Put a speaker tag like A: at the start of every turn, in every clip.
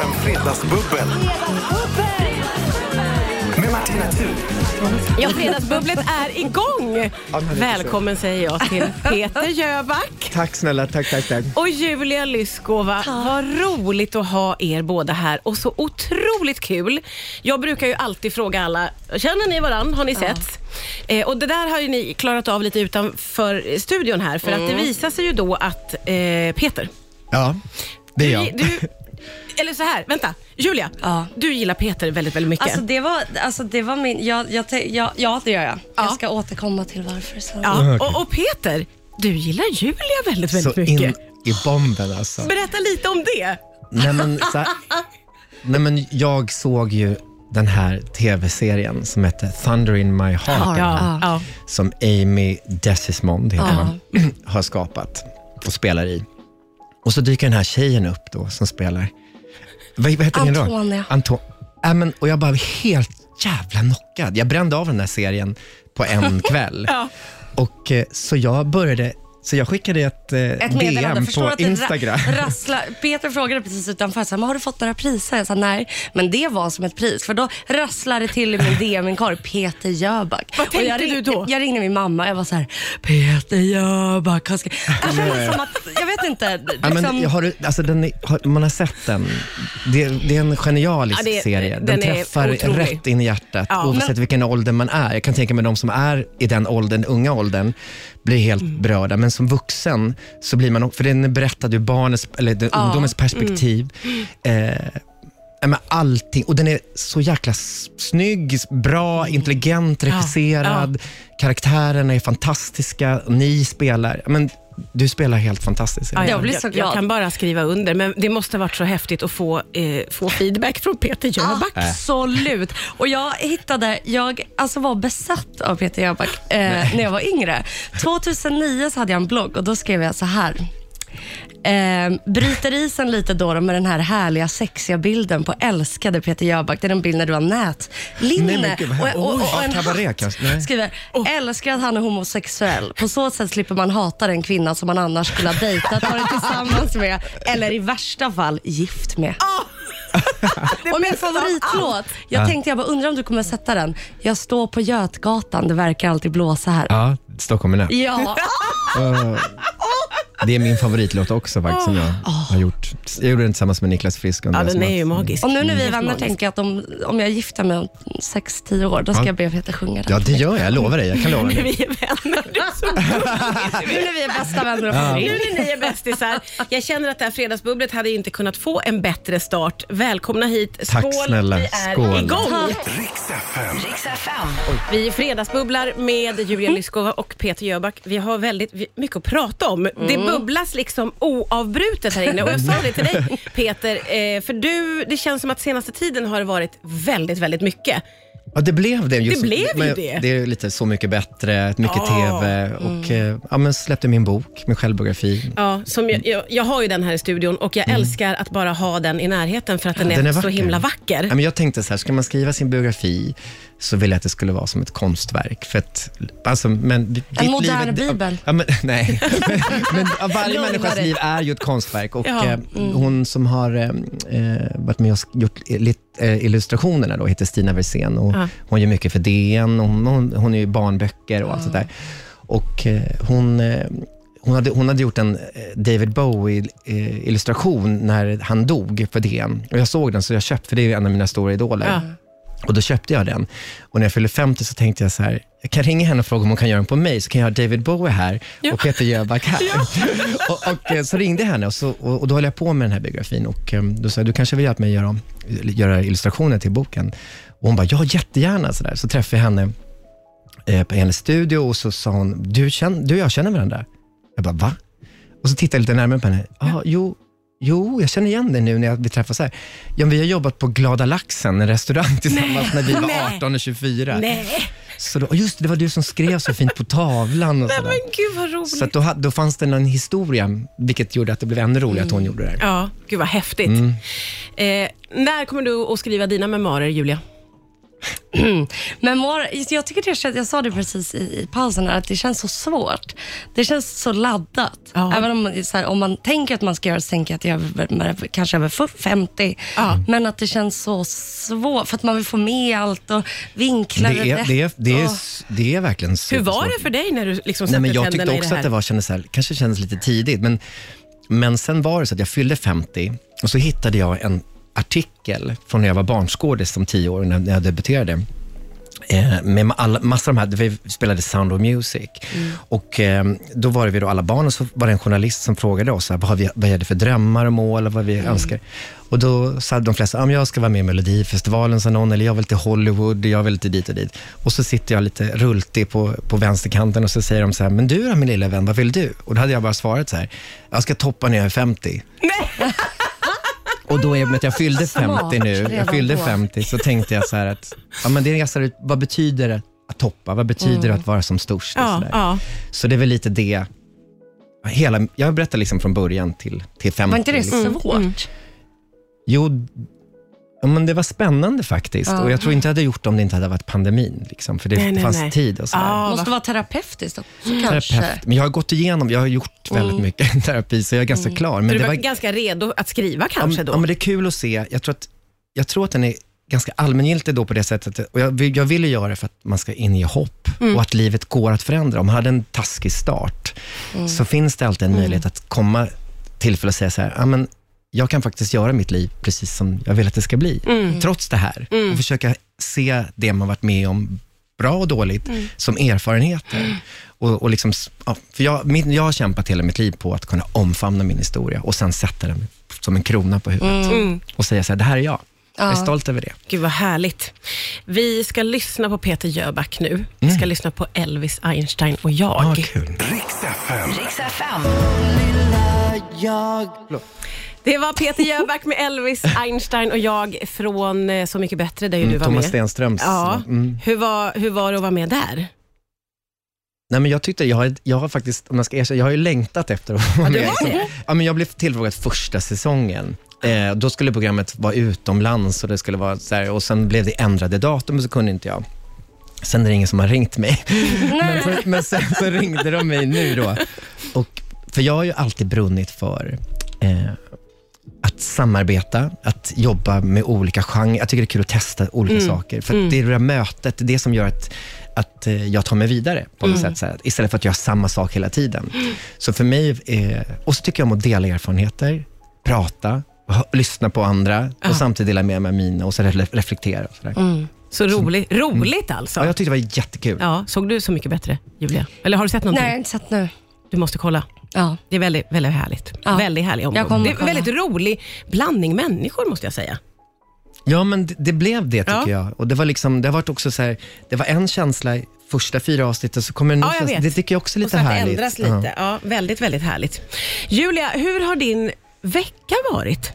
A: Fredagsbubbel med Martina Thun.
B: Ja, fredagsbubblet är igång!
C: Ja, men lite så.
B: Välkommen säger jag till Peter Jöback
C: Tack snälla, tack, tack, tack.
B: och Julia Lyskova. Vad roligt att ha er båda här och så otroligt kul. Jag brukar ju alltid fråga alla, känner ni varann? Har ni sett? Eh, och det där har ju ni klarat av lite utanför studion här för
C: Mm.
B: att det visar sig ju då att eh, Peter,
C: Ja, det är jag.
B: du, du, eller så här, vänta, Julia,
D: Ja.
B: du gillar Peter väldigt, väldigt mycket.
D: Alltså det var, alltså det var min, jag, jag, te- jag, ja det gör jag.
B: Ja.
D: Jag ska återkomma till varför sen.
B: ja. och, och Peter, du gillar Julia väldigt, väldigt
C: Så
B: mycket.
C: in i bomben alltså.
B: Berätta lite om det.
C: Nej men, så här, nej, men jag såg ju den här tv-serien som hette Thunder in my heart,
B: Ja, ja.
C: som Amy Desismond heter hon, har skapat och spelar i. Och så dyker den här tjejen upp då som spelar. Vad, vad heter din roll?
D: Antonia.
C: Anto- Nej, men, och jag bara helt jävla knockad. Jag brände av den här serien på en kväll. Och, eh, så jag började, så jag skickade ett, eh,
D: Ett meddelande.
C: DM
D: Förstår
C: på
D: att det ra-
C: Instagram.
D: Rassla. Peter frågade precis utanför, så här, "Men har du fått några priser? Jag sa nej, men det var som ett pris. För då rasslade det till i min DM-inkorg, Peter Jöback.
B: Vad
D: Och
B: tänkte
D: jag ring-
B: du då?
D: Jag ringde min mamma jag var så här, Peter Jöback. Han ska... Jag
C: Nej.
D: kände som att, jag vet inte.
C: Ja,
D: Liksom,
C: men, jag har, alltså, den är, har, man har sett den. Det, det är en genialisk
B: Ja, det-
C: serie. Den,
B: den är
C: träffar
B: otrolig.
C: rätt in i hjärtat
B: Ja,
C: oavsett
D: men-
C: vilken ålder man är. Jag kan tänka mig de som är i den åldern, unga åldern, blir helt
B: Mm.
C: berörda. Men som vuxen så blir man, för den berättade ju barnets, eller den, ungdomens
B: Mm.
C: perspektiv. Eh, ja, men allting. Och den är så jäkla s- snygg, bra, intelligent, regisserad. Karaktärerna är fantastiska. Ni spelar, ja, men du spelar helt fantastiskt.
B: Ja,
D: Jag blir så
B: Jag
D: glad.
B: kan bara skriva under, men det måste ha varit så häftigt att få, eh, få feedback från Peter Jöback.
C: Äh.
D: Absolut. Och jag hittade, jag alltså var besatt av Peter Jöback eh, när jag var yngre. 2009 så hade jag en blogg och då skrev jag så här. Eh, bryter isen lite då, då med den här härliga sexiga bilden på älskade Peter Jöback. Det är en bild när du har
C: Nej, men
D: nätlinne
C: gud, vad här-
D: och, och,
C: oj,
D: och en
C: kabaré
D: hatt.
C: kanske? Nej.
D: Skriver, älskar att han är homosexuell. På så sätt slipper man hata den kvinna som man annars skulle ha dejtat, varit tillsammans med eller i värsta fall gift med. Och min favoritlåt, jag tänkte jag bara undrar om du kommer sätta den. Jag står på Götgatan, det verkar alltid blåsa här.
C: Ja, Stockholm är nära.
D: Ja,
C: Det är min favoritlåt också faktiskt, som jag har gjort. Jag gjorde den tillsammans med Niklas Frisk. och
D: Ah.
B: Ja,
C: Andreas
B: den är ju
C: Mattsson.
B: magisk.
D: och nu när vi är
B: Helt
D: vänner
B: magisk.
D: tänker jag att om, om jag gifter mig om 6-10 år, då ska jag be Peter sjunga den.
C: Ja, det gör jag. Jag lovar dig. Jag kan lova dig.
B: Vi är vänner. Det är så gulligt.
D: Nu när vi är bästa vänner och
B: Nu
D: familj.
B: när ni är bästisar. Jag känner att det här fredagsbubblet hade inte kunnat få en bättre start. Välkomna hit. Skål,
C: Tack snälla.
B: vi är
C: Skål.
B: igång.
A: Riks FM.
B: Vi fredagsbubblar med Julia
C: Mm.
B: Lyskova och Peter Jöback. Vi har väldigt vi- mycket att prata om. Det
C: Mm.
B: bubblas liksom oavbrutet här inne. Och jag sa det till dig Peter, eh, för du, det känns som att senaste tiden har det varit väldigt, väldigt mycket.
C: Ja, det blev det. Just,
B: Det blev ju
C: men
B: det.
C: Det är lite Så mycket bättre, mycket
B: Ja. Mm.
C: tv och eh, ja, men släppte min bok, min självbiografi.
B: Ja, som jag, jag, jag har ju den här i studion och jag älskar att bara ha den i närheten för att den är,
C: Mm. Den är
B: så
C: vacker.
B: himla vacker.
C: Ja, men jag tänkte så här, ska man skriva sin biografi så vill jag att det skulle vara som ett konstverk. För att, alltså, men, ditt liv är-
D: modern bibel.
C: Ja, men, nej, men ja, varje
D: Lugna
C: människas
D: dig.
C: liv är ju ett konstverk. Och,
B: Ja,
C: eh, Hon som har eh, eh, varit med och sk- gjort lit, eh, illustrationerna då, heter Stina Versén. Och
B: Ja.
C: Hon gör mycket för DN, och hon, hon, hon är ju barnböcker och allt sånt där. Och, eh, hon, eh, hon, hade, hon hade gjort en eh, David Bowie-illustration när han dog för DN. Och jag såg den, så jag köpte, för det är en av mina stora idoler.
B: Ja.
C: Och då köpte jag den. Och när jag fyllde 50 så tänkte jag så här, jag kan ringa henne och fråga om hon kan göra den på mig, så kan jag ha David Bowie här och Peter Jöback här. och, och, eh, så ringde jag henne och, så, och, och då höll jag på med den här biografin och eh, då sa jag, du kanske vill hjälpa mig göra, om- göra illustrationer till boken? Och hon bara, ja jättegärna. Så, där. så träffade jag henne eh, på hennes studio och så sa hon, du, känn, du och jag känner varandra. Jag bara, va? Och så tittade jag lite närmare på henne. Ah, jo, jo, jag känner igen dig nu när jag- vi träffas här. Ja, men vi har jobbat på Glada laxen, en restaurang tillsammans när vi var
B: Nej.
C: 18 och 24.
B: Nej,
C: Så då, just det, det var du som skrev så fint på tavlan. Och sådär.
B: men gud vad roligt.
C: Så att då, ha- då fanns det någon historia, vilket gjorde att det blev ännu roligare att hon gjorde det här.
B: Mm. Ja, gud
C: Mm.
B: vad häftigt. Eh, när kommer du att skriva dina memoarer, Julia?
D: memoarer, just- jag tycker det känns, jag sa det precis i, i pausen här, att det känns så svårt. Det känns så laddat.
B: Ja.
D: Även om, man- så här, om man tänker att man ska göra det, så tänker jag att jag är över- med- kanske över f- 50.
B: Ja.
D: Men att det känns så svårt, för att man vill få med allt och vinklar
C: Det är,
D: rätt
C: det, är, det, är,
D: och-
C: det är verkligen
B: Hur var
C: supersvårt.
B: det för dig när du liksom
C: Nej,
B: satte
C: men jag
B: tänderna
C: tyckte
B: i det
C: också
B: här?
C: att det var, kändes, så här- kanske kändes lite tidigt, men, men sen var det så att jag fyllde 50 och så hittade jag en artikel från när jag var barnskådis som tioåring, när när jag debuterade. Eh, med ma- alla, massor av de här, vi spelade Sound of Music. Och eh, då var det vi då alla barn och så var det en journalist som frågade oss så här, vad, har vi, vad vi hade för drömmar och mål och vad vi önskar. Och då sa de flesta, ah, men jag ska vara med i Melodifestivalen, sa någon, eller jag vill till Hollywood, jag vill till dit och dit. Och så sitter jag lite rultig på, på vänsterkanten och så säger de så här, men du då min lilla vän, vad vill du? Och då hade jag bara svarat så här, jag ska toppa när jag är 50. Och då, i och med att jag fyllde
D: Smart
C: 50 nu, jag
D: redan
C: fyllde
D: då.
C: 50, så tänkte jag så här att, ja, men det är ganska, vad betyder det att toppa? Vad betyder det att vara som störst? och
B: Mm. Ja,
C: så, där?
B: ja.
C: så det är väl lite det. Hela, jag berättar liksom från början till, till 50.
D: Var inte det
C: liksom.
D: svårt?
C: Jo, ja, men det var spännande faktiskt. Och jag tror inte jag hade gjort det om det inte hade varit pandemin. Liksom, för det
B: Nej, nej,
C: fanns
B: nej.
C: tid och så där.
B: Ja,
D: måste
B: vad-
D: vara terapeutiskt också,
C: Mm.
D: kanske.
C: Terapeut. Men jag har gått igenom, jag har gjort väldigt mycket terapi, så jag är ganska klar. Men
B: Mm. Du
C: det
B: var
C: var
B: ganska redo att skriva kanske
C: ja, men-
B: då?
C: Ja, men det är kul att se. Jag tror att, jag tror att den är ganska allmängiltig då på det sättet. Och jag, vill- jag vill ju göra det för att man ska in i hopp och att livet går att förändra. Om man hade en taskig start, så finns det alltid en möjlighet att komma tillfälle och säga så här, "Ja, men jag kan faktiskt göra mitt liv precis som jag vill att det ska bli, trots det här. Och försöka se det man varit med om, bra och dåligt, som erfarenheter. Och, och liksom, s- ja, för jag, min, jag har kämpat hela mitt liv på att kunna omfamna min historia och sen sätta den som en krona på huvudet och säga så här, det här är jag. Jag är stolt över det.
B: Gud vad härligt. Vi ska lyssna på Peter Jöback nu. Vi ska lyssna på Elvis Einstein och jag.
C: Mm. Ah, kul.
A: Riks FM.
B: Det var Peter Jöback med Elvis Einstein och jag från eh, Så mycket bättre där ju du var
C: Mm, Thomas
B: med.
C: Stenströms.
B: Ja.
C: Mm.
B: Hur, var, hur var det att vara med där?
C: Nej, men jag tyckte, jag har, jag har faktiskt, om jag ska erkänna, jag har ju längtat efter att vara med. Ja, men jag blev tillfrågad första säsongen. Eh, då skulle programmet vara utomlands och det skulle vara så här, och sen blev det ändrade datum och så kunde inte jag. Sen är det ingen som har ringt mig. men, så, men sen så ringde de mig nu då. Och, för jag har ju alltid brunnit för eh, att samarbeta, att jobba med olika genrer. Jag tycker det är kul att testa olika saker. För att Det är det där mötet, det är det som gör att, att eh, jag tar mig vidare på
B: Mm.
C: något sätt. Så här, istället för att göra samma sak hela tiden. Så för mig, eh, och så tycker jag om att dela erfarenheter, prata, hö- lyssna på andra och samtidigt dela med mig av mina och så re- reflektera. Och så där.
B: Så roligt, roligt alltså.
C: Ja, jag tyckte det var jättekul.
B: Mm. Ja, såg du Så mycket bättre, Julia? Eller har du sett någonting?
D: Nej, jag har inte sett nu.
B: Du måste kolla.
D: Ja.
B: Det är väldigt, väldigt härligt.
D: Ja.
B: Väldigt härlig
D: Jag kommer
B: omgång. Det är en
D: kolla.
B: väldigt rolig blandning människor måste jag säga.
C: Ja, men det, det blev det tycker
B: Ja.
C: jag. Och det var liksom, det har varit också så här, det var en känsla i första fyra avsnittet, så kommer en ny
B: Ja, jag
C: känsla.
B: vet.
C: Det tycker jag också är
B: och
C: lite
B: så att
C: härligt.
B: det ändras
C: Ja.
B: lite. Ja. väldigt, väldigt härligt. Julia, hur har din vecka varit?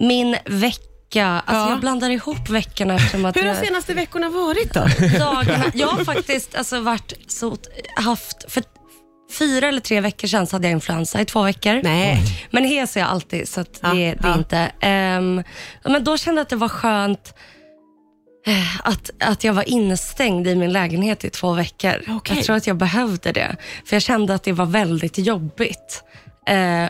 D: Min vecka, alltså
B: Ja.
D: jag blandar ihop veckorna eftersom att eh,
B: Hur har
D: jag-
B: senaste veckorna varit då?
D: dagarna. Jag har faktiskt alltså, varit så, haft, för fyra eller tre veckor sedan så hade jag influensa i två veckor.
B: Nej.
D: Men hes är jag alltid, så att
B: Ja,
D: det, det är
B: ja.
D: inte. Ehm, men då kände jag att det var skönt eh, att, att jag var instängd i min lägenhet i två veckor.
B: Okej.
D: Jag tror att jag behövde det, för jag kände att det var väldigt jobbigt. Eh,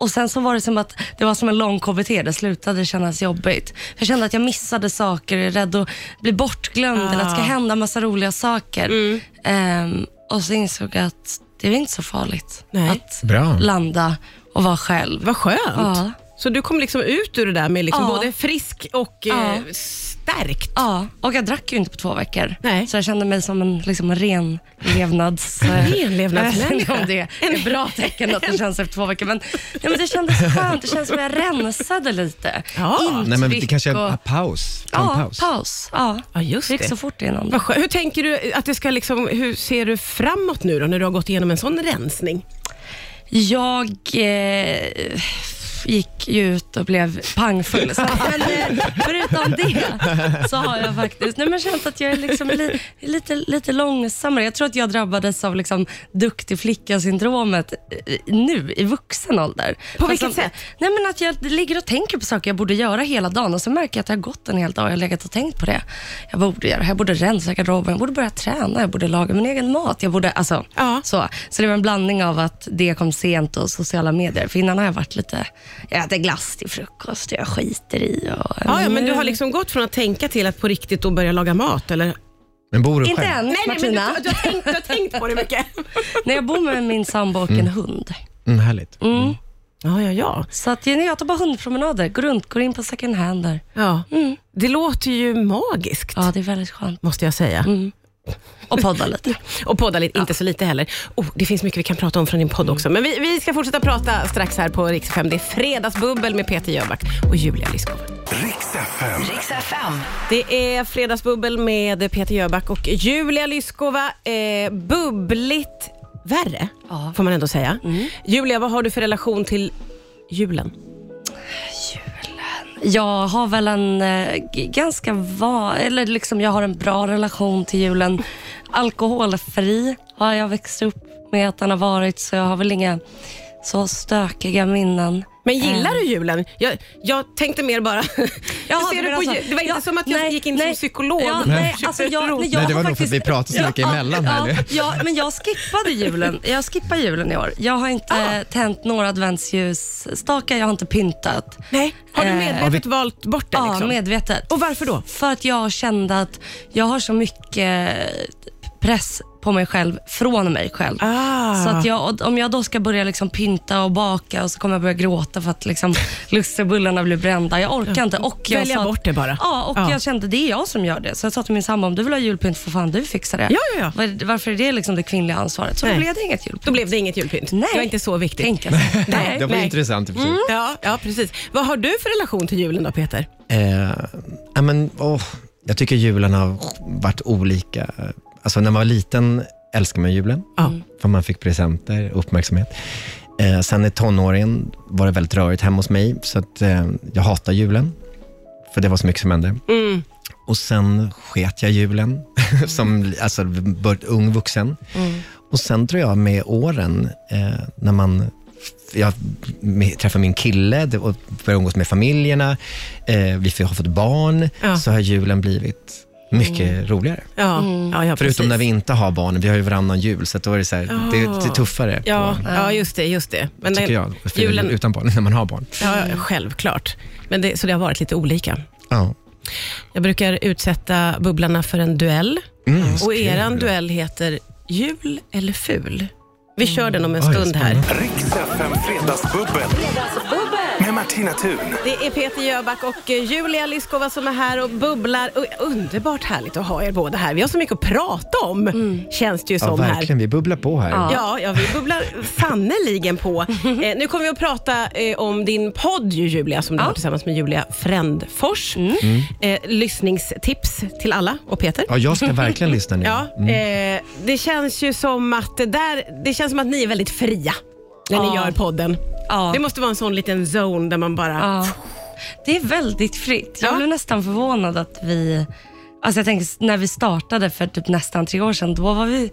D: och Sen så var det som att det var som en lång KBT, det slutade kännas jobbigt. Jag kände att jag missade saker, är rädd att bli bortglömd eller att det ska
B: Ah.
D: hända massa roliga saker.
B: Mm.
D: Ehm, och så insåg jag att det är inte så farligt
B: Nej.
D: att
C: Bra.
B: Mm.
D: landa och vara själv.
B: Vad skönt.
D: Ja.
B: Så du kom liksom ut ur det där med liksom
D: Ja.
B: både frisk och eh, stärkt.
D: Ja, och jag drack ju inte på två veckor.
B: Nej.
D: Så jag kände mig som en liksom, ren levnads...
B: Renlevnadsmänniska.
D: Jag vet inte om det är ett bra tecken att det känns efter två veckor. Men, nej, men det kändes skönt. Det kändes som jag rensade lite.
B: Ja.
D: Intryck
C: Nej, men det kanske är
D: och...
C: en paus. Ta en
D: Ja,
C: paus.
D: paus. Ja.
B: Ja, just
D: Drick
B: det.
D: så fort innan.
B: Vad skönt. Hur tänker du att det ska liksom, hur ser du framåt nu då när du har gått igenom en sån rensning?
D: Jag eh, gick ju ut och blev pangfull. Så, men eh, förutom det så har jag faktiskt nej, men känt att jag är liksom li, lite, lite långsammare. Jag tror att jag drabbades av liksom duktig flicka-syndromet i- nu i vuxen ålder. Alltså, På
B: vilket sätt?
D: Nej, men att jag ligger och tänker på saker jag borde göra hela dagen och så märker jag att jag har gått en hel dag och jag har legat och tänkt på det. Jag borde göra det här, jag borde rensa garderoben, jag borde börja träna, jag borde laga min egen mat. Jag borde, alltså,
B: Ja.
D: så. så det var en blandning av att det kom sent och sociala medier. För innan har jag varit lite, jag äter glass till frukost och jag skiter i. Och,
B: Ja, ja, men du har liksom gått från att tänka till att på riktigt då börja laga mat eller?
C: Men bor du
D: Mm. Inte
C: själv?
D: än, Martina.
B: du, du, har tänkt, du har tänkt på det mycket.
D: Nej, jag bor med min sambo och en hund.
C: Mm, härligt.
B: Ja, ja, ja.
D: Så att, nej, jag tar bara hundpromenader, går runt, går in på second hand där.
B: ja. Mm. Det låter ju magiskt,
D: Ja, Mm. det är väldigt skönt.
B: måste jag säga.
D: Och poddar lite.
B: Och podda lite, inte så lite heller. Oh, det finns mycket vi kan prata om från din
D: Mm.
B: podd också. Men vi, vi ska fortsätta prata strax här på Rix 5. Det är Fredagsbubbel med Peter Jöback och Julia Lyskov.
A: Riks FM.
E: Riks FM.
B: Det är Fredagsbubbel med Peter Jöback och Julia Lyskova. Eh, bubbligt värre,
D: Ja. Mm.
B: får man ändå säga. Julia, vad har du för relation till julen?
D: Jag har väl en eh, g- ganska va... Eller liksom jag har en bra relation till julen. Alkoholfri har jag växt upp med att den har varit, så jag har väl inga så stökiga minnen.
B: Men gillar
D: Eh.
B: du julen? Jag, jag tänkte mer bara...
D: Jaha,
B: Hur ser
D: du
B: du på,
D: menar så.
B: ju- det var inte
D: alltså, Ja,
B: som att jag
D: nej,
B: gick in som
D: nej.
B: psykolog.
D: Ja,
B: och
D: nej,
B: köpte
D: alltså jag-
B: ros.
D: nej, jag-
C: Nej, det var
D: har
C: nog för att vi
D: faktiskt-
C: pratade så mycket emellan här nu.
D: ja, ja, men jag skippade julen. Jag skippar julen i år. Jag har inte
B: Ah.
D: eh, tänt några adventsljusstakar, jag har inte pyntat.
B: nej. Har du
D: Eh,
B: medvetet valt bort det?
D: Ja,
B: liksom?
D: medvetet.
B: Och varför då?
D: För att jag kände att jag har så mycket press på mig själv, från mig själv.
B: Ah.
D: Så att jag, och om jag då ska börja liksom pynta och baka och så kommer jag börja gråta för att liksom lussebullarna blir brända. Jag orkar inte. Och jag
B: Välja
D: sa att,
B: bort det bara.
D: Ja, och
B: Ja.
D: jag kände det är jag som gör det. Så jag sa till min sambo, om du vill ha julpynt får fan du fixa det.
B: Ja, ja, ja.
D: Var- Varför är det liksom det kvinnliga ansvaret? Så
B: Nej.
D: då blev det inget julpynt.
B: Då blev det inget julpynt.
D: Nej. Mm.
B: Det var inte så viktigt.
D: Tänka sig.
B: Nej,
C: Det var
B: nej. Mm.
C: intressant i och för sig.
B: Ja, ja, precis. Vad har du för relation till julen då, Peter?
C: Eh, ja, men, åh, jag tycker julen har varit olika. Alltså, när man var liten älskade man julen,
B: Ja.
D: Mm.
C: för man fick presenter och uppmärksamhet. Eh, sen i tonåren var det väldigt rörigt hemma hos mig, så att, eh, jag hatar julen, för det var så mycket som hände.
B: Mm.
C: Och sen sket jag julen, som alltså, bör, ung vuxen.
B: Mm.
C: Och sen tror jag med åren, eh, när man jag med- träffar min kille det- och börjar umgås med familjerna, eh, vi har fått barn,
B: Ja. Mm.
C: så har julen blivit mycket roligare.
B: Ja,
D: Mm.
B: ja, ja
C: Förutom
B: precis.
C: när vi inte har barn, vi har ju varannan jul, så att då är det, så här, det, det är tuffare.
B: Ah. Ja,
C: på,
B: ja, just det. Just det. Men
C: tycker
B: det-
C: jag, att fira
B: julen,
C: jul utan barn, när man har barn.
B: ja, självklart. Men det, så det har varit lite olika.
C: Ja.
B: Jag brukar utsätta bubblarna för en duell. och
C: Mm. kul.
B: eran duell heter Jul eller ful? Vi kör den om en
C: Oj,
B: stund här.
C: spännande.
A: Riks FM Fredagsbubbel. Med Martina Thun.
B: Det är Peter Jöback och eh, Julia Lyskova som är här och bubblar. Och eh, Underbart härligt att ha er båda här. Vi har så mycket att prata om, känns det ju
C: ja,
B: som här.
C: verkligen. Vi bubblar på här.
D: Ja.
B: Ja, ja, vi bubblar sannoliken på. Eh, nu kommer vi att prata eh, om din podd ju, Julia, som du har tillsammans med Julia Frändfors. Eh, lyssningstips till alla och Peter.
C: Ja, jag ska verkligen lyssna nu.
B: Ja, eh, det känns ju som att det där, det känns som att ni är väldigt fria när ni
D: Ja.
B: gör podden.
D: Ja.
B: Det måste vara en sån liten zone där man bara...
D: Ja. Det är väldigt fritt. Jag
B: Ja.
D: blev nästan förvånad att vi... Alltså jag tänker, när vi startade för typ nästan tre år sedan, då var vi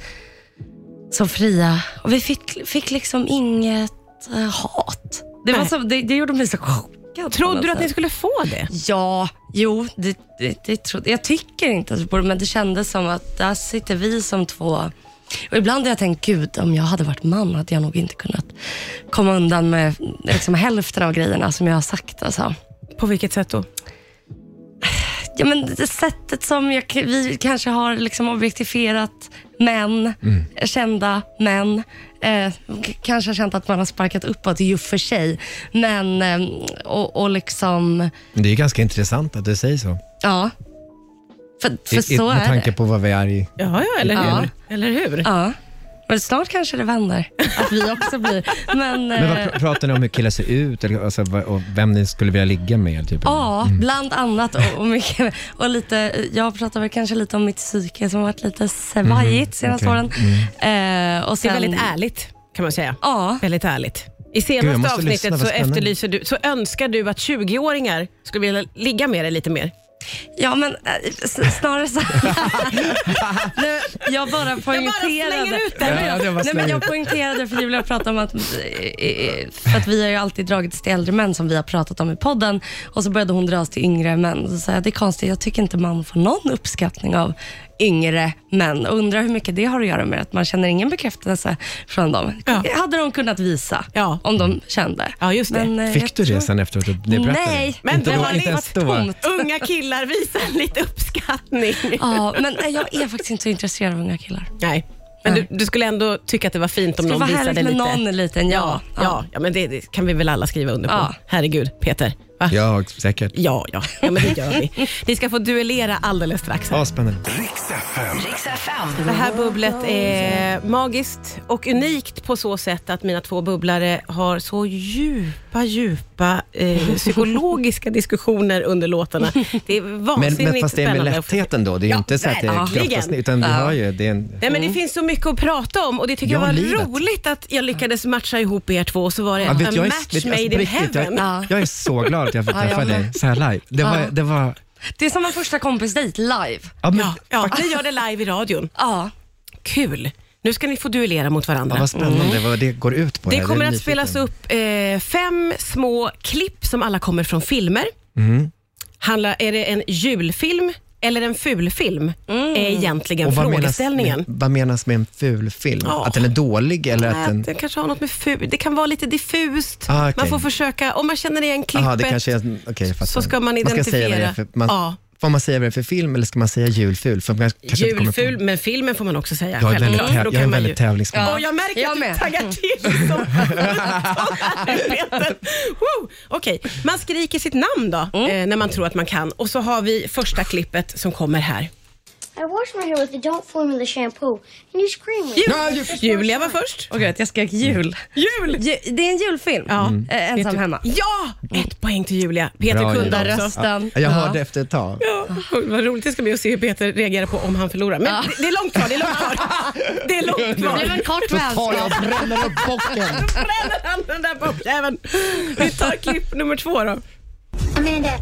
D: så fria. Och vi fick, fick liksom inget eh, hat. Det, var
B: Nej.
D: så, det, det gjorde mig så chockad. på
B: Trodde
D: något
B: du att ni
D: sätt.
B: skulle få det?
D: Ja, jo, det, det, det trodde jag. tycker inte att vi borde, men det kändes som att där sitter vi som två. Och ibland har jag tänkt, gud, om jag hade varit man hade jag nog inte kunnat komma undan med liksom, hälften av grejerna som jag har sagt. Alltså.
B: På vilket sätt då?
D: Ja, men det sättet som jag, vi kanske har liksom objektifierat män,
C: Mm.
D: kända män. Eh, k- kanske har känt att man har sparkat uppåt ju för sig. Men, eh, och, och liksom,
C: Det är ganska intressant att du säger så.
D: ja. För, för
C: I, i,
D: så
C: med
D: är
C: tanke
D: det.
C: på vad vi är i.
B: Ja, ja eller hur?
D: Ja.
B: Eller hur?
D: Ja. Men snart kanske det vänder, att vi också blir. Men,
C: Men
D: eh,
C: vad pr- pratar ni om hur killar ser ut eller, alltså, vad, och vem ni skulle vilja ligga med? Typ?
D: Ja, bland annat. Och, och mycket, och lite, jag pratar väl kanske lite om mitt psyke som har varit lite svajigt senaste
C: Mm, okej.
D: åren. Eh, och
B: Det
D: sen,
B: är väldigt ärligt kan man säga.
D: Ja.
B: Väldigt ärligt. I
C: Gud, jag
B: senaste
C: måste lyssna,
B: avsnittet
C: vad
B: så,
C: spännande.
B: efterlyser du, så önskar du att 20-åringar skulle vilja ligga med dig lite mer.
D: Ja, men eh, s- snarare så här. nu, Jag bara poängterade.
B: slänger ut det. Ja,
C: ja, det var
D: Nej, men
C: slänger
D: jag
C: ut.
D: poängterade för jag ville prata om att, eh, eh, för att vi har ju alltid dragits till äldre män som vi har pratat om i podden och så började hon dras till yngre män. Så sa jag, det är konstigt, jag tycker inte man får någon uppskattning av yngre män. Och undrar hur mycket det har att göra med att man känner ingen bekräftelse från dem.
B: Ja.
D: Hade de kunnat visa
B: Ja.
D: om de kände.
B: Ja, just det.
D: eh, jag
C: Fick du
D: tror-
C: det sen efteromt? Ni berättade?
D: Nej.
B: Men
C: inte
B: det
C: då,
B: har
C: inte
B: det
C: ens
D: varit
C: då?
D: tomt.
B: Unga killar, visa lite uppskattning.
D: Ja, men eh, jag är faktiskt inte så intresserad av unga killar.
B: Nej, men
D: Nej.
B: du, du skulle ändå tycka att det var fint om
D: Det skulle
B: någon
D: vara
B: visade
D: härligt med
B: lite.
D: någon liten,
B: Ja,
D: ja.
B: ja, ja, men det, det kan vi väl alla skriva under på.
D: Ja.
B: Herregud, Peter. Va?
C: Ja, säkert.
B: Ja, ja, ja, men det gör vi. Ni ska få duellera alldeles strax. Här.
C: Ja, spännande.
A: Riks FM.
B: Det här bubblet är magiskt och unikt på så sätt att mina två bubblare har så djupa, djupa eh, psykologiska diskussioner under låtarna. Det är
C: Men,
B: vansinnigt
C: men fast det är med
B: spännande att få-
C: lättheten då, det är ju
B: Ja,
C: inte så att det är
B: verkligen.
C: kraftigt, utan vi har ju, det är en,
B: Nej, men det finns så mycket att prata om och det tycker
C: Mm. Ja,
B: jag var
C: livet.
B: roligt att jag lyckades matcha ihop er två och så var det
C: Ja,
B: en
C: vet, jag, är,
B: match
C: vet,
B: made
C: alltså, på
B: in
C: riktigt,
B: heaven.
D: Ja.
C: jag, jag är så glad att jag fick
D: Ja, jag
C: träffa
D: med.
C: dig så här live. Det var,
D: Ja.
C: det var
D: Det är som en första kompisdejt live.
C: ja, men,
B: Ja, ja, ni gör det live i radion.
D: Ja.
B: Kul! Nu ska ni få duellera mot
C: Ja,
B: varandra.
D: Mm.
C: vad spännande vad det går ut på.
B: Det
C: Jag är
B: kommer att
C: nyfiken.
B: spelas upp eh, fem små klipp som alla kommer från filmer.
C: Mm.
B: Handlar, är det en julfilm eller en fulfilm? Är egentligen
C: Och vad menas,
B: frågeställningen.
C: med, vad menas med en ful film?
B: Ja.
C: Att den är dålig eller att
B: Nej,
C: den...
B: Den Äh, kanske har något med ful... Det kan vara lite diffust.
C: Ah, okej.
B: Man får försöka, om man känner igen klippet.
C: Aha, det kanske är, en- okej, jag fattar.
B: så ska man
C: ska säga vad det är
B: identifiera.
C: för, man,
B: Ja.
C: Får man säga vad det är för film eller ska man säga julful? För man kanske inte kommer på-
B: Julful, men filmen får man också säga.
C: Jag är väldigt, täv-
B: självklart.
C: jag
B: Då
C: är
B: kan
C: en
B: man
C: väldigt
B: ju-
C: tävlingsman.
B: Och jag märker
D: Jag
B: att du
D: med.
B: taggar till som Peter. Woo! Okej, man skriker sitt namn då, eh, när man tror att man kan. Och så har vi första klippet som kommer här.
E: I wash my hair with the Don't Formula shampoo, and you scream with it.
B: Jul. Julia var först.
D: Och gud, jag skrek jul. Mm.
B: Jul!
D: Ju, det är en julfilm.
B: Ja. Mm.
D: Eh, ensam hemma.
B: Ja! Ett poäng till Julia. Peter
C: Bra,
B: kunde
C: Julia.
B: också.
D: Rösten.
C: Jag hörde efter ett tag.
B: Ja, vad roligt det ska bli att se hur Peter reagerar på om han förlorar. Men det, det är långt kvar, det är långt kvar. Det är långt
D: Det blev
B: kvar.
D: en kort
C: Då tar jag
D: vänskap.
C: och bränner upp bocken.
B: Bränner han den där bockjäveln? Vi tar klipp nummer två då.
F: Amanda,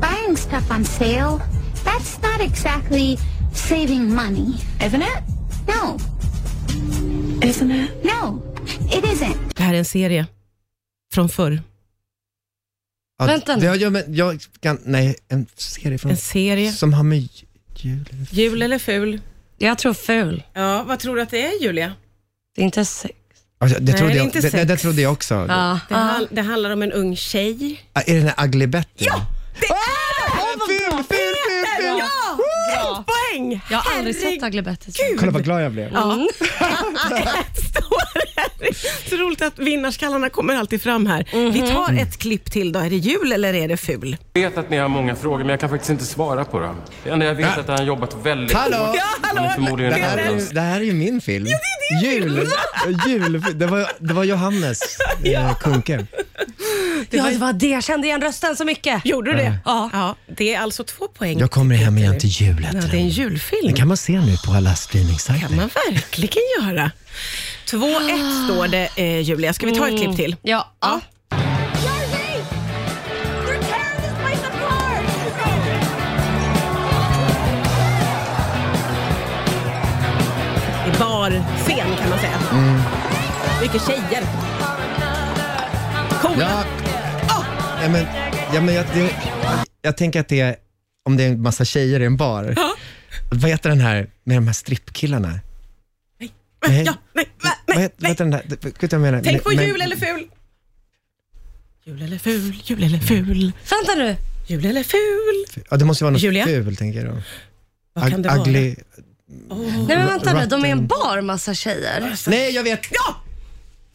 F: buying stuff on sale, that's not exactly saving money, isn't it? No. Isn't it? No, it isn't.
B: Det här är en serie från förr.
C: Ja,
D: Vänta nu.
C: det- ja, men jag kan, nej, en serie från...
B: En serie.
C: Som har med jul...
B: Jul eller ful?
D: Jag tror ful.
B: Ja, vad tror du att det är Julia?
D: Det är inte sex.
C: Alltså, det,
B: Nej,
C: trodde
B: det är
C: jag,
B: inte
C: det, det,
B: sex.
C: det trodde jag också.
D: Ja.
B: Det, hal- det handlar om en ung tjej.
C: Ah, Är det den där Ugly Betty? Ja!
B: Det
C: Ful, ful, ful, ful!
B: Ja! Ett poäng!
D: Jag har aldrig sett Ugly Betty.
C: Kolla vad glad jag blev.
D: Mm.
B: Ja. Ett står här. Det är Så roligt att vinnarskallarna kommer alltid fram här. Vi tar ett klipp till då. Är det jul eller är det ful?
G: Jag vet att ni har många frågor, men jag kan faktiskt inte svara på dem. Det enda jag vet är att han har jobbat väldigt
C: Hallå?
G: hårt.
C: Ja,
B: hallå.
G: Han är förmodligen
C: Det här,
G: redan-
C: är ju- det här är ju min film. jul. jul. Det, var, det var Johannes eh, Kunke.
D: Ja, det var det. Jag kände igen rösten så mycket.
B: Gjorde du det?
D: Ja.
B: ja. Det är alltså två poäng.
C: Jag kommer hem igen till
B: Ja,
C: julet.
B: det är en julfilm.
C: Den kan man se nu på alla
B: kan
C: streamingsajter.
B: man verkligen göra. 2-1 står det, eh, Julia. Ska vi ta ett klipp till?
D: Ja. ja.
B: I barscen kan man säga. Mycket tjejer. Coola.
C: Ja,
B: Ah!
C: ja, men, ja, men jag, det, jag tänker att det är, om det är en massa tjejer i en bar. Vad heter den här med de här strippkillarna?
B: Nej.
C: Nej.
B: Ja, nej, va,
C: Eh, Vad
B: nej,
C: heter, vad
B: nej.
C: heter den där? Vet du vad jag menar?
B: Tänk på
C: Men-
B: jul eller ful. Jul eller ful, jul eller ful,
D: Vänta nu.
B: jul eller ful.
C: Ja, det måste ju vara något
B: Julia?
C: ful, tänker jag då.
B: Vad kan det
C: Ug-
B: vara?
C: ugly,
D: Nej, men vänta nu.
C: Rotten.
D: De är en bar massa tjejer.
C: Nej, jag vet.
B: Ja!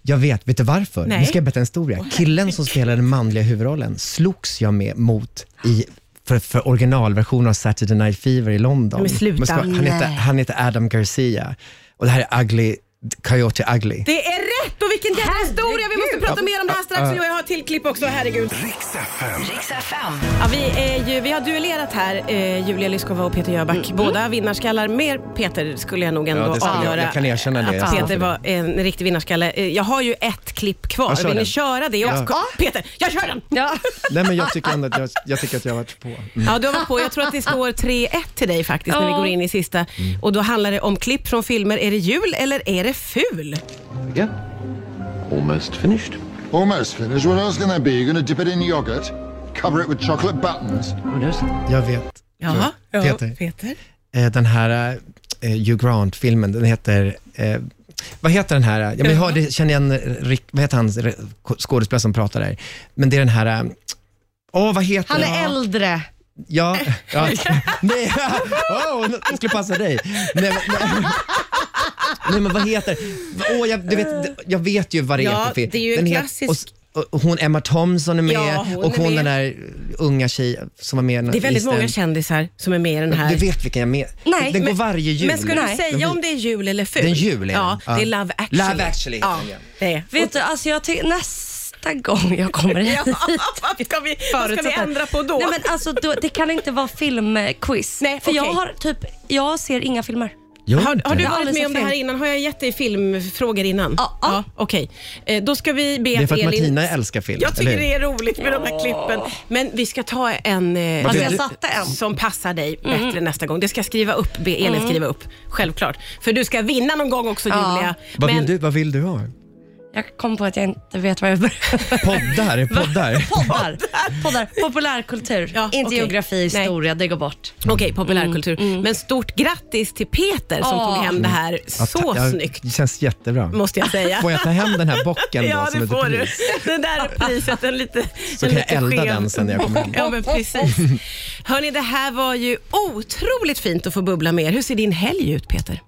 C: Jag vet. Vet du varför?
B: Nej.
C: Nu ska jag berätta en historia. Killen som spelade den manliga huvudrollen slogs jag med mot i för, för originalversionen av Saturday Night Fever i London.
B: Men sluta.
C: ska- Han heter,
D: Nej.
C: han heter Adam Garcia och det här är Ugly Coyote Ugly.
B: Det är rätt och vilken jävla historia! Vi måste prata mer om det här strax. Och jag har ett till klipp också, herregud.
A: Riks FM.
H: Riks FM.
B: Ja, vi, är ju, vi har duellerat här, eh, Julia Lyskova och Peter Jöback. Båda vinnarskallar. Mer Peter skulle jag nog ändå
C: Mm. Ja, det skulle jag.
B: avgöra.
C: Jag kan erkänna det. Jag
B: Att
C: står
B: Peter
C: för det.
B: var en riktig vinnarskalle. Eh, Jag har ju ett klipp kvar.
C: Ja,
B: Vill
C: kör
B: ni
C: den.
B: köra det också? Peter, jag kör den!
D: Ja.
C: Nej, men jag tycker ändå att jag, jag, tycker att jag har varit på. Mm.
B: Ja, du har varit på. Jag tror att det står 3-1 till dig faktiskt när vi
D: Ja.
B: går in i sista.
C: Mm.
B: Och då handlar det om klipp från filmer. Är det jul eller är det ful?
I: Almost finished.
J: Almost finished. What else can that be? You're going to dip it in yogurt, cover it with chocolate buttons.
C: Jag vet.
B: Jaha.
C: Ja, Peter.
B: Peter.
C: Eh, Den här eh, Hugh Grant-filmen, den heter... Eh, vad heter den här? eh, Ja, men jag hörde, känner igen, eh, Rick, vad heter han eh, skådespelare som pratar där? Men det är den här... eh, Åh, vad heter
D: Han
C: den?
D: är äldre.
C: Ja, ja. Nej, oh, det skulle passa dig. Nej, men, nej. nej men vad heter Åh, jag, du vet, jag vet ju vad det
B: Ja,
C: är för film.
B: det är ju en
C: Den heter-
B: klassisk-
C: och s- och, och hon Emma Thompson är med
B: Ja, hon
C: och
B: är
C: hon den
B: med.
C: där unga tjej som var med
B: Det är väldigt
C: i
B: många
C: den-
B: kändisar som är med i den här.
C: Du vet vilken jag menar?
D: Nej,
C: den
D: men-
C: går varje jul.
B: Men ska du
D: Nej.
B: säga om det är jul eller ful?
C: Den jul är
B: ja,
C: den.
B: det är
C: Ja.
B: Love actually.
C: Love actually heter
B: Ja,
C: den, ja.
B: det är.
D: Vet du, alltså jag ty- nästa gång jag kommer hit.
B: vad ska vi, vad ska vi
D: förutsatt att-
B: ändra på då?
D: Nej, men alltså, då det kan inte vara filmquiz.
B: Nej,
D: för jag
B: okej.
D: har typ, jag ser inga filmer.
C: Gör
B: har,
C: inte
B: har
C: det.
B: du
D: Ja,
B: varit
D: alldeles
B: med om det
D: fel.
B: här innan? Har jag gett dig filmfrågor innan?
D: Ja, ja.
B: Okej, Eh, då ska vi be
C: Det är för att
B: Elin...
C: Martina älskar film,
B: Jag tycker
C: eller hur?
B: det är roligt med de här klippen. Men vi ska ta en eh,
C: Vad
D: Alltså
C: du-
D: jag
C: du-
D: satte en.
B: som passar dig bättre nästa gång. Det ska jag skriva upp, be Elin skriva upp. Självklart. För du ska vinna någon gång också
D: Ja.
B: Julia.
C: Vad,
B: Men-
C: vill du, vad vill du ha?
D: Jag kom på att jag inte vet vad jag börjar.
C: Poddar? Poddar?
D: Poddar. Poddar. Populärkultur.
B: Ja,
D: inte
B: okej.
D: geografi, historia, det går bort.
C: Mm.
B: Okej, populärkultur. Men stort grattis till Peter som
D: Ja.
B: tog hem det här så
C: Mm. Ja,
B: snyggt,
C: Det känns jättebra.
B: måste jag säga.
C: Får jag ta hem den här bocken då
B: Ja,
C: som
B: det
C: lite
B: får du.
C: pris?
B: Det där priset, en lite
C: Så
B: en
C: kan
B: lite
C: jag elda
B: skev-
C: den sen när jag kommer hem.
B: Ja, men precis. Hörni, det här var ju otroligt fint att få bubbla med er. Hur ser din helg ut, Peter?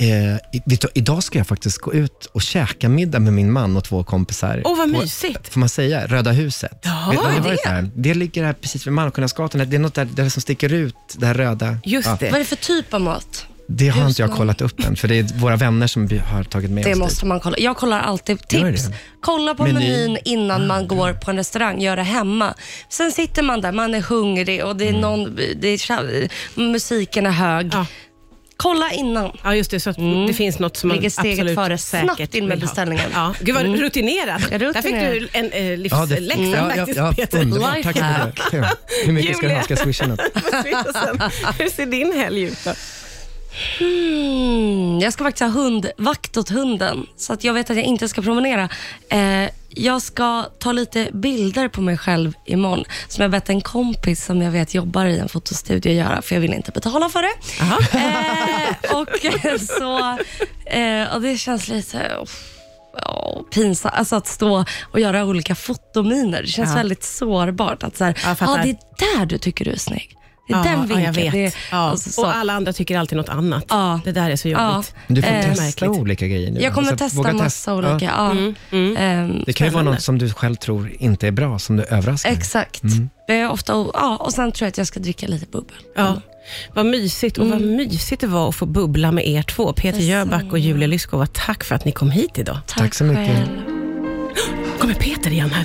C: Eh, i- vet du, idag ska jag faktiskt gå ut och käka middag med min man och två kompisar.
B: Åh, vad
C: På-
B: mysigt.
C: Får man säga? Röda huset.
B: Ja,
C: ni
B: vad är
C: var det? Där? det ligger här precis vid Malmskillnadsgatan. Det är något där, där som sticker ut, det här röda.
B: Just
C: Ja,
B: det.
D: Vad är det för typ av mat?
C: det har inte jag
D: Husman.
C: kollat upp än, för det är våra vänner som vi har tagit med
D: Det
C: oss
D: måste man kolla. Jag kollar alltid tips.
C: det.
D: Kolla på
C: Menyn. Ah,
D: menyn innan man går på en restaurang. Gör det hemma. Sen sitter man där, man är hungrig och det är
C: Mm.
D: någon, det är, musiken är hög.
B: Ja.
D: Kolla innan.
B: Ja, just det. Så att
C: Mm.
B: det finns något som man
D: Ligger steget
B: absolut
D: före.
B: säkert
D: Snabbt in med
B: vill ha.
D: beställningen.
B: Ja. Gud, vad rutinerat.
D: Ja,
B: Där fick
D: rutinerad.
B: du en eh,
C: Mm. Ja, det, Mm.
B: livsläxa
C: ja, ja,
B: faktiskt,
C: ja,
B: Peter.
C: underbart. Tack för det. Kul. Hur mycket ska du ha? Ska jag swisha något?
B: Hur ser din helg ut då?
D: Mm, jag ska faktiskt ha hundvakt åt hunden, så att jag vet att jag inte ska promenera. Eh, jag ska ta lite bilder på mig själv imorgon, som jag bett en kompis som jag vet jobbar i en fotostudio göra, för jag vill inte betala för det. Eh, och, så, eh, och det känns lite... Oh. pinsamt, alltså att stå och göra olika fotominer. Det känns
B: Ja.
D: väldigt sårbart. Att så här,
B: Ja, jag fattar.
D: ah, det är där du tycker du är snygg. Det är den
B: ja,
D: vinkeln.
B: jag vet.
D: Det är,
B: ja.
D: alltså, så.
B: Och alla andra tycker alltid något annat.
D: Ja.
B: Det där är så jobbigt.
C: Du får
D: Eh,
C: testa
B: märkligt.
C: olika grejer nu.
D: Jag kommer
C: Alltså,
D: testa
C: våga
D: massa
C: Ja.
D: olika. Ja. Ehm,
C: Det kan ju vara
B: Spännande.
C: något som du själv tror inte är bra, som du överraskar. med.
D: exakt.
C: Mm.
D: Det är ofta, ja, och sen tror jag att jag ska dricka lite bubbel.
B: Ja. Vad mysigt och
D: Mm.
B: vad mysigt det var att få bubbla med er två. Peter Jöback och Julia Lyskova, tack för att ni kom hit idag.
C: Tack så mycket.
D: själv.
B: Kommer Peter igen här?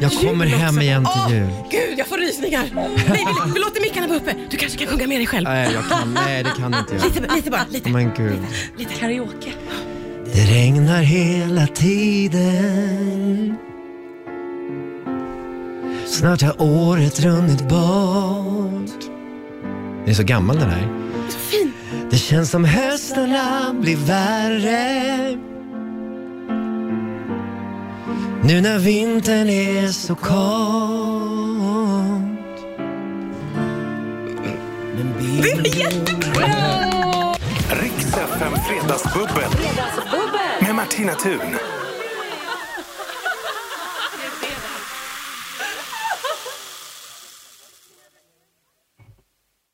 C: Jag kommer
B: Jul
C: hem
B: också.
C: igen
B: Åh,
C: till jul.
B: Gud, jag får rysningar. Nej, vi, vi låter mickarna vara uppe. Du kanske kan sjunga med dig själv.
C: Nej, jag kan, nej det kan inte jag. Oh
B: Lite, lite bara, lite.
C: Men gud.
D: Lite karaoke.
C: Det regnar hela tiden Snart har året runnit bort Den är så gammal den här. Så fin. Det känns som höstarna blir värre Nu när vintern är så kort
A: Riks FM Fredagsbubbel. Med Martina Thun.